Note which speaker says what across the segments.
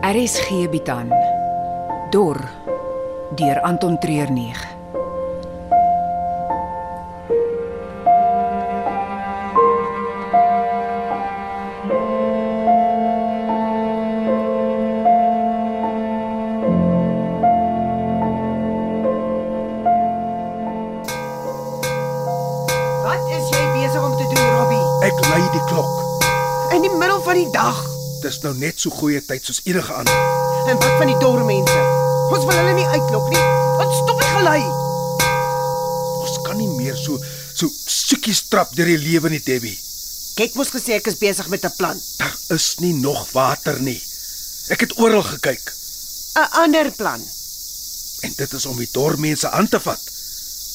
Speaker 1: RSG bied aan Dor deur Anton Treurnig.
Speaker 2: Wat is jy besig om te doen, Robbie?
Speaker 3: Ek lei die klok.
Speaker 2: In die middel van die dag.
Speaker 3: Dis nou net so goeie tyd soos enige ander.
Speaker 2: En wat van die dorre mense? Ons wil hulle nie uitlok nie. Wat stop die gelei?
Speaker 3: Ons kan nie meer so so soekie strap deur die lewe nie, Debbie.
Speaker 2: Jy het mos gesê ek is besig met 'n plan.
Speaker 3: Daar is nie nog water nie. Ek het oral gekyk
Speaker 2: 'n Ander plan.
Speaker 3: en dit is om die dorpmense aan te vat.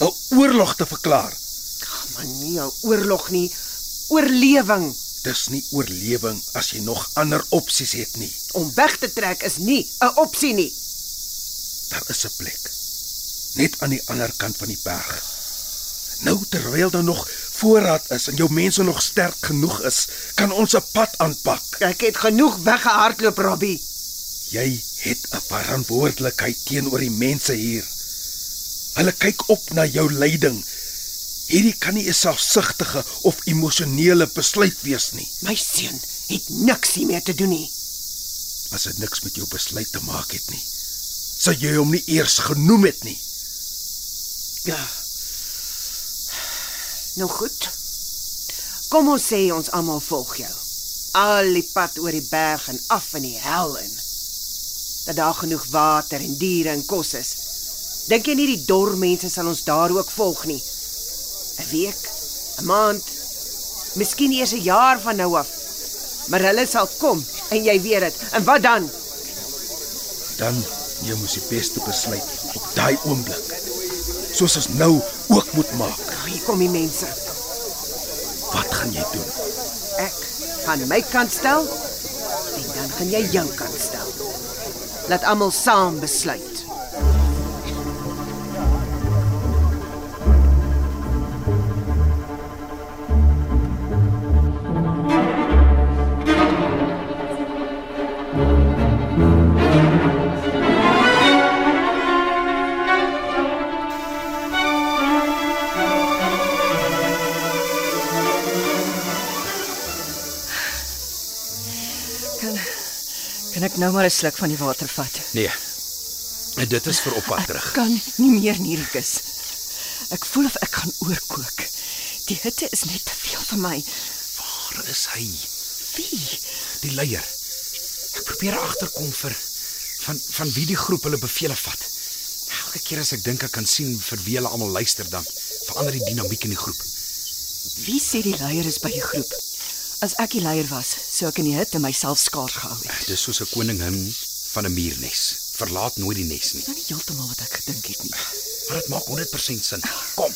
Speaker 3: 'n Oorlog te verklaar.
Speaker 2: Ag man, nie 'n oorlog nie. Oorlewing.
Speaker 3: Dis nie oorlewing as jy nog ander opsies het nie.
Speaker 2: Om weg te trek is nie 'n opsie nie.
Speaker 3: Daar is 'n plek. Net aan die ander kant van die berg. Nou terwyl daar nog voorraad is en jou mense nog sterk genoeg is, kan ons 'n pad aanpak.
Speaker 2: Ek het genoeg weggehardloop, Robbie.
Speaker 3: Jy het 'n verantwoordelikheid teenoor die mense hier. Hulle kyk op na jou leiding. Hierdie kan nie 'n selfsugtige of emosionele besluit wees nie.
Speaker 2: My seun het niks hiermee te doen nie.
Speaker 3: As dit niks met jou besluit te maak het nie, sou jy hom nie eers genoem het nie.
Speaker 2: Ja. Nou goed. Kom ons sê ons almal volg jou. Al die pad oor die berg en af in die hel in. Dat daar genoeg water en diere en kos is. Dink jy nie die dormense sal ons daar ook volg nie? 'n Week, 'n maand, miskien eers 'n jaar van nou af. Maar hulle sal kom en jy weet dit. En wat dan?
Speaker 3: Dan jy moes die beste besluit op daai oomblik, soos ons nou ook moet maak.
Speaker 2: Nou, Hier kom die mense.
Speaker 3: Wat gaan jy doen?
Speaker 2: Ek gaan my kant stel en dan gaan jy jou kant stel. Laat almal saam besluit.
Speaker 4: Kan kan ek nou maar 'n sluk van die water vat?
Speaker 5: Nee. Dit is vir op pad terug.
Speaker 4: Kan nie meer nierkus. Ek voel of ek gaan oorkook. Die hitte is net te veel vir my.
Speaker 5: Waar is hy?
Speaker 4: Wie?
Speaker 5: Die leier. Ek probeer agterkom vir van van wie die groep hulle bevele vat. Elke keer as ek dink ek kan sien vir wie hulle almal luister dan verander die dinamiek in die groep.
Speaker 4: Wie sê die leier is by die groep? As ek die leier was, sou ek in die hitte myself skaar gehou het.
Speaker 5: Eh, Dis soos 'n koningin van 'n muurnes. Verlaat nooit die nes nie.
Speaker 4: Dis nou nie heeltemal wat ek gedink het nie.
Speaker 5: Maar dit maak 100% sin. Kom.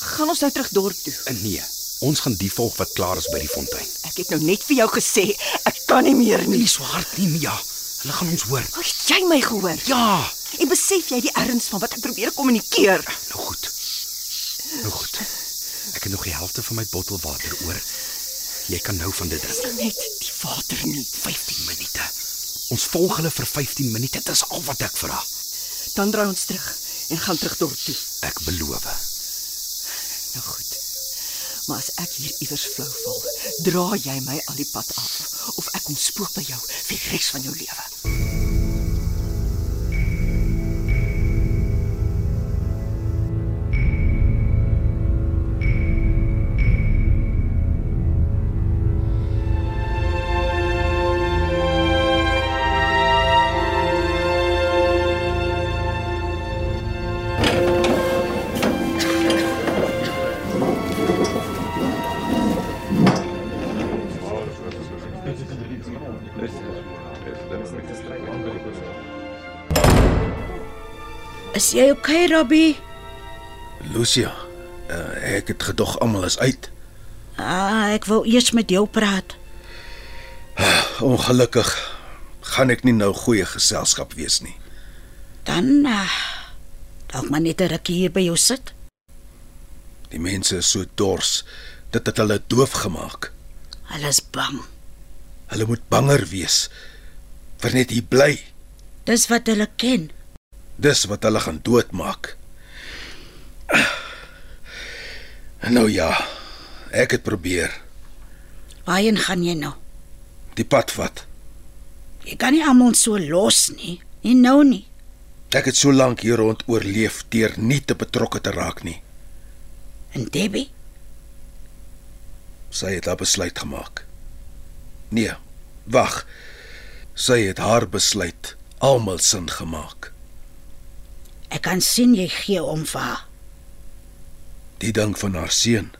Speaker 4: Gaan ons nou terug dorp toe.
Speaker 5: En nee, ons gaan die volg wat klaar is by die fontein.
Speaker 4: Ek het nou net vir jou gesê, ek kan nie meer nie.
Speaker 5: Nie so hard nie, Mia. nee, ja. Hulle gaan ons hoor.
Speaker 4: O, het jy my gehoor?
Speaker 5: Ja.
Speaker 4: En besef jy die erns van wat ek probeer kommunikeer?
Speaker 5: Nou goed. Nou goed. Ek het nog die helfte van my bottel water oor. Jy kan nou van dit drink.
Speaker 4: Net die water nie.
Speaker 5: 15 minute. Ons volg hulle vir 15 minute. Dit is al wat ek vra.
Speaker 4: Dan draai ons terug en gaan terug dorp toe.
Speaker 5: Ek beloof.
Speaker 4: Nou goed. Maar as ek hier iewers flou val, dra jy my al die pad af of ek kom spook by jou vir die res van jou lewe.
Speaker 6: Is jy okay, Robbie?
Speaker 3: Lucia, uh, ek het gedog almal is uit.
Speaker 6: Ah, ek wou eers met jou praat.
Speaker 3: Ongelukkig gaan ek nie nou goeie geselskap wees nie.
Speaker 6: Dan ah, dalk maar net 'n rukkie hier by jou sit.
Speaker 3: Die mense is so dors dit het hulle doof gemaak.
Speaker 6: Hulle is bang.
Speaker 3: Hulle moet banger wees vir net hier bly.
Speaker 6: Dis wat hulle ken.
Speaker 3: Dis wat hulle gaan doodmaak. En nou ja, ek het probeer
Speaker 6: Waarheen gaan jy nou?
Speaker 3: die pad vat.
Speaker 6: Jy kan nie almal so los nie. Nie nou nie.
Speaker 3: Ek het so lank hier rond oorleef deur nie te betrokke te raak nie.
Speaker 6: En Debbie,
Speaker 3: Sy het haar besluit gemaak. Nee, wag. Sy het haar besluit almal sin gemaak.
Speaker 6: ek kan sien jy gee om vir haar.
Speaker 3: Die ding van haar seun.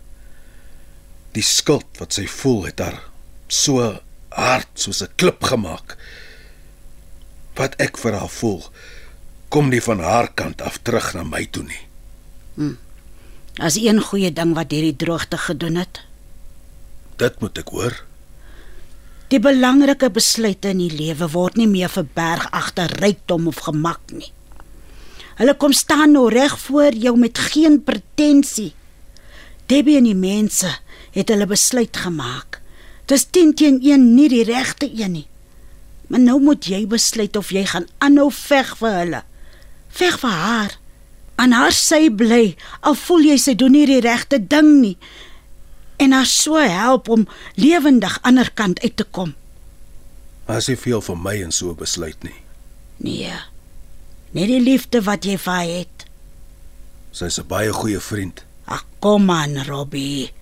Speaker 3: Die skuld wat sy voel het haar so hard soos 'n klip gemaak. Wat ek vir haar voel, kom nie van haar kant af terug na my toe nie.
Speaker 6: Daar's een goeie ding wat hierdie droogte gedoen het.
Speaker 3: Dit moet ek hoor.
Speaker 6: Die belangrike besluite in die lewe word nie meer verberg agter rykdom of gemak nie. Hulle kom staan nou reg voor jou met geen pretensie. Debbie en die mense het hulle besluit gemaak. Dis 10 teen 1 nie die regte een nie. Maar nou moet jy besluit of jy gaan aanhou veg vir hulle. Veg vir haar. Aan haar sy bly al voel jy sy doen nie die regte ding nie en haar so help om lewendig aan die ander kant uit te kom.
Speaker 3: As jy veel van my en so 'n besluit nie.
Speaker 6: Nee. Net die liefde wat jy vir haar het.
Speaker 3: Sy's 'n baie goeie vriend.
Speaker 6: Ag kom aan, Robbie.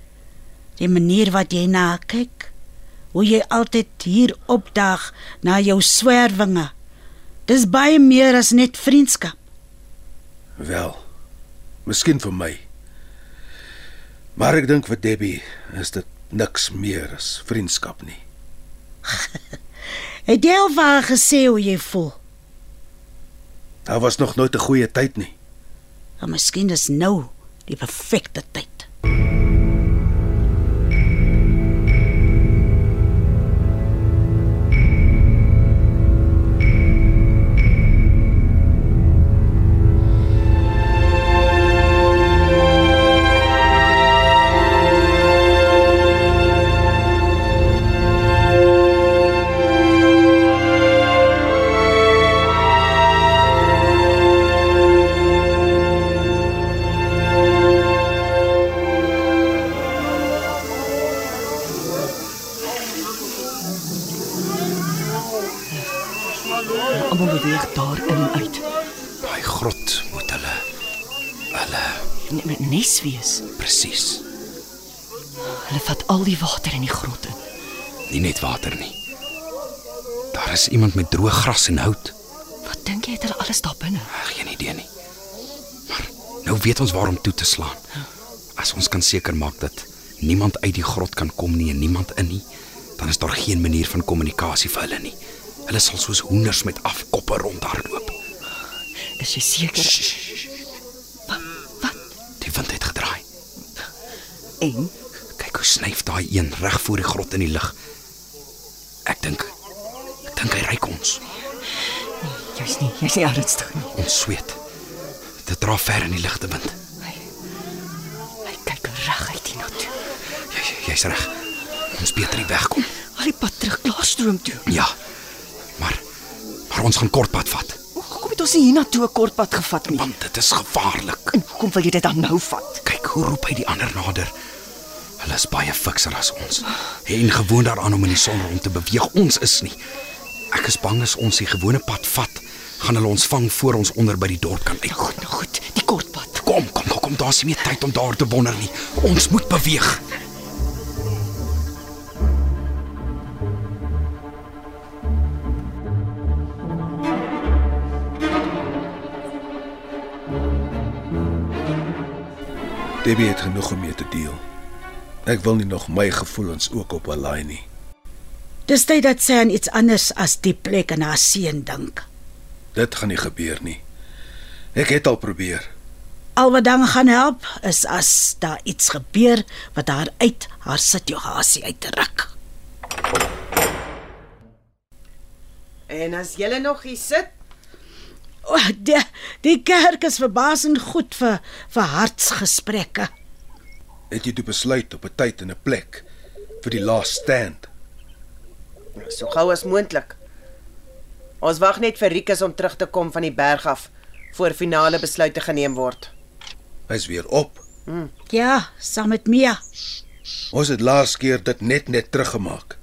Speaker 6: Die manier wat jy na haar kyk, hoe jy altyd hier opdag na jou swerwinge. Dis baie meer as net vriendskap.
Speaker 3: Wel. Miskien vir my. Maar ek dink vir Debbie is dit niks meer as vriendskap nie.
Speaker 6: Het jy al vir haar gesê hoe jy voel?
Speaker 3: Daar was nog nooit 'n goeie tyd nie.
Speaker 6: Maar Ja, miskien is nou die perfekte tyd.
Speaker 4: Almal beweeg daar in en uit.
Speaker 5: Daai grot moet hulle hulle
Speaker 4: Net met nes wees.
Speaker 5: presies.
Speaker 4: Hulle vat al die water in die grot in.
Speaker 5: Nie net water nie. Daar is iemand met droë gras en hout.
Speaker 4: Wat dink jy het hulle alles daar binne?
Speaker 5: Ag, geen idee nie. Maar nou weet ons waarom toe te slaan. As ons kan seker maak dat niemand uit die grot kan kom nie en niemand in nie, dan is daar geen manier van kommunikasie vir hulle nie. Hulle sal soos hoenders met afkoppe rondhardloop.
Speaker 4: Is jy seker?
Speaker 5: Ssh, ssh, ssh.
Speaker 4: Wat?
Speaker 5: Die wind het gedraai.
Speaker 4: En
Speaker 5: Kyk hoe snyf daai een reg voor die grot in die lug. Ek dink ek dink hy ryk ons.
Speaker 4: jy's nie, jy's nie ernstig nie.
Speaker 5: Ons sweet. Dit dra ver in die ligte wind.
Speaker 4: Hy, hy kyk reguit hiernatoe.
Speaker 5: Jy jy's reg. Ons beter nie wegkom.
Speaker 4: Al die pad terug klaarstroom toe.
Speaker 5: Ja. Maar maar ons gaan kort pad vat,
Speaker 4: Hoekom het ons nie hiernatoe 'n kort pad gevat nie?
Speaker 5: want dit is gevaarlik.
Speaker 4: En hoekom wil jy dit dan nou vat?
Speaker 5: Kyk hoe roep hy die ander nader. Hulle is baie fikser as ons. En gewoond daaraan om in die son rond te beweeg. Ons is nie. Ek is bang as ons die gewone pad vat, gaan hulle ons vang voor ons onder by die dorp kan
Speaker 4: Nou
Speaker 5: uitkom.
Speaker 4: goed, nou goed, die kort pad.
Speaker 5: Kom, kom, kom, kom, daar's nie meer tyd om daar te wonder nie. Ons moet beweeg.
Speaker 3: Debbie het genoeg om mee te deel. Ek wil nie nog my gevoelens ook op haar laai nie.
Speaker 6: Dis tyd dat sy aan iets anders as die plek en haar seun dink.
Speaker 3: Dit gaan nie gebeur nie. Ek het al probeer.
Speaker 6: Al wat dan gaan help is as daar iets gebeur wat haar uit haar situasie uitruk.
Speaker 2: En as julle nog hier sit,
Speaker 6: O, die, die kerk is verbasend goed vir vir hartsgesprekke.
Speaker 3: Het jy toe besluit op 'n tyd en 'n plek vir die laaste stand?
Speaker 2: so gou as moontlik. Ons wag net vir Rikus om terug te kom van die berg af voor finale besluite geneem word.
Speaker 3: Hy's weer op.
Speaker 6: Ja, saam met Mia.
Speaker 3: Ons het laas keer dit net net teruggemaak.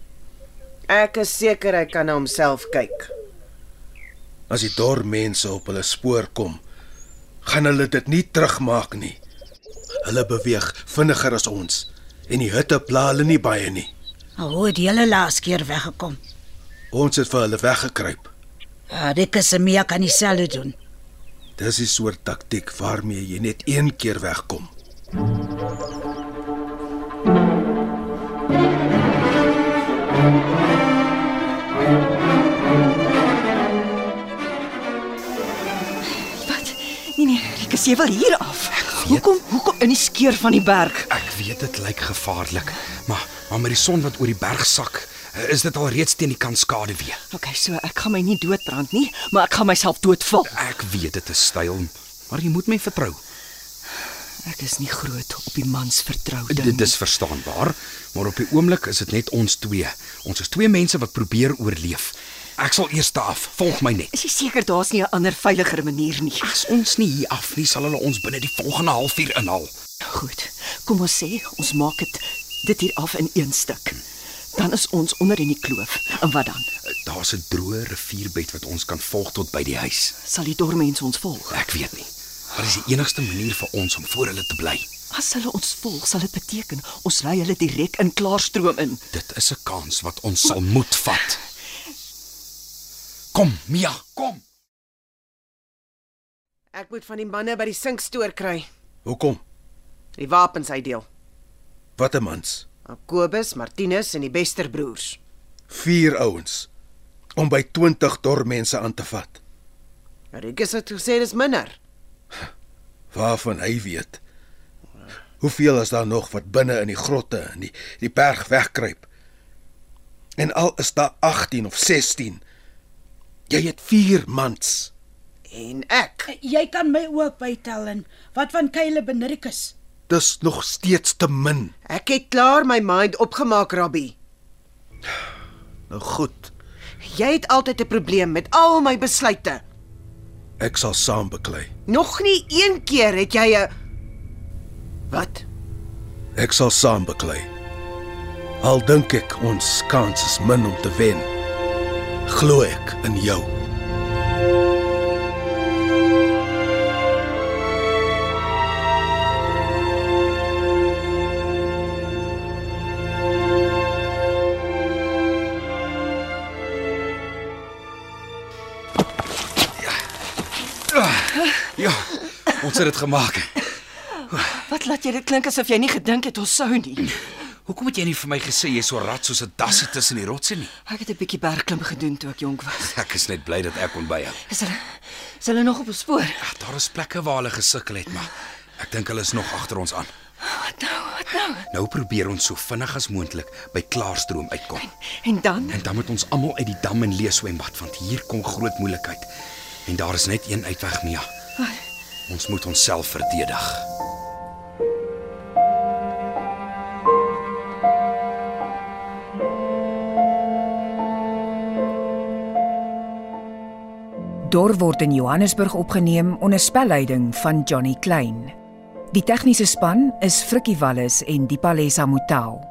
Speaker 2: Ek is seker hy kan na homself kyk.
Speaker 3: As die dor mense op hulle spoor kom, gaan hulle dit nie terugmaak nie. Hulle beweeg vinniger as ons en die hitte pla hulle nie baie nie.
Speaker 6: Hoe het julle laas keer weggekom?
Speaker 3: Ons het vir hulle weggekruip.
Speaker 6: Ja, Rikus en Mia kan dieselfde doen.
Speaker 3: Dis die soort taktiek waarmee jy net een keer wegkom.
Speaker 4: Wat? Nee nee, Rikus, jy wil hier af. Hoekom? Hoekom in die skeur van die berg?
Speaker 5: Ek weet dit lyk gevaarlik, maar maar met die son wat oor die berg sak, is dit al reeds teen die kant skade weer.
Speaker 4: Okay, so ek gaan my nie doodbrand nie, maar ek gaan myself doodval.
Speaker 5: Ek weet dit is styl, maar jy moet my vertrou.
Speaker 4: Ek is nie groot op die mans vertroue ding.
Speaker 5: Dit is verstaanbaar, maar op die oomblik is dit net ons twee. Ons is twee mense wat probeer oorleef. Ek sal eers daar af. Volg my net.
Speaker 4: Is jy seker daar's nie 'n ander veiliger manier nie?
Speaker 5: As ons nie hier af nie, sal hulle ons binne die volgende halfuur inhaal.
Speaker 4: Goed. Kom ons sê ons maak dit dit hier af in een stuk. Dan is ons onder in die kloof. En wat dan?
Speaker 5: Daar's 'n droë rivierbed wat ons kan volg tot by die huis.
Speaker 4: Sal die dormense ons volg?
Speaker 5: Ek weet nie. Maar dis die enigste manier vir ons om voor hulle te bly.
Speaker 4: As hulle ons volg, sal dit beteken ons lei hulle direk in klaarstroom in.
Speaker 5: Dit is 'n kans wat ons sal moet vat. Kom, Mia, kom.
Speaker 2: Ek moet van die manne by die sinkstoor kry.
Speaker 3: Hoekom?
Speaker 2: Die wapens uitdeel.
Speaker 3: Wat 'n mans.
Speaker 2: Kobus, Martinus en die Westerbroers.
Speaker 3: Vier ouens om by 20 dor mense aan te vat.
Speaker 2: Rikus Nou, het gesê dis minder.
Speaker 3: Waarvan hy weet. Hoeveel is daar nog wat binne in die grotte en die die berg wegkruip? En al is daar 18 of 16. Jy het 4 mans.
Speaker 2: En ek.
Speaker 6: Jy kan my ook bytel en wat van Kyle Benrikus?
Speaker 3: Dis nog steeds te min.
Speaker 2: Ek het klaar my mind opgemaak, Rabbi.
Speaker 3: Nou goed,
Speaker 2: Jy het altyd 'n probleem met al my besluite.
Speaker 3: ek sal saam beklei.
Speaker 2: Nog nie een keer het jy 'n Wat?
Speaker 3: Ek sal saam beklei. Al dink ek ons kans is min om te wen, glo ek in jou.
Speaker 5: Ja, ons het dit gemaak.
Speaker 4: Wat laat jy dit klink asof jy nie gedink het ons sou nie?
Speaker 5: Hoekom het jy nie vir my gesê jy's so rad soos 'n dassie tussen die rotse nie?
Speaker 4: Ek het 'n bietjie bergklim gedoen toe ek jonk was.
Speaker 5: Ek is net bly dat ek kon byhou.
Speaker 4: Is hulle is hulle nog op ons spoor?
Speaker 5: Ag, daar is plekke waar hulle gesukkel het, maar ek dink hulle is nog agter ons aan.
Speaker 4: Wat nou? Wat nou?
Speaker 5: Nou probeer ons so vinnig as moontlik by Klaarstroom uitkom.
Speaker 4: En dan?
Speaker 5: En dan moet ons almal uit die dam en lees swembad want hier kom groot moeilikheid. En daar is net een uitweg, Mia. Ons moet onsself verdedig.
Speaker 1: Dor word in Johannesburg opgeneem onder spelleiding van Johnny Klein. Die tegniese span is Frikkie Wallis en Dipalesa Motelo.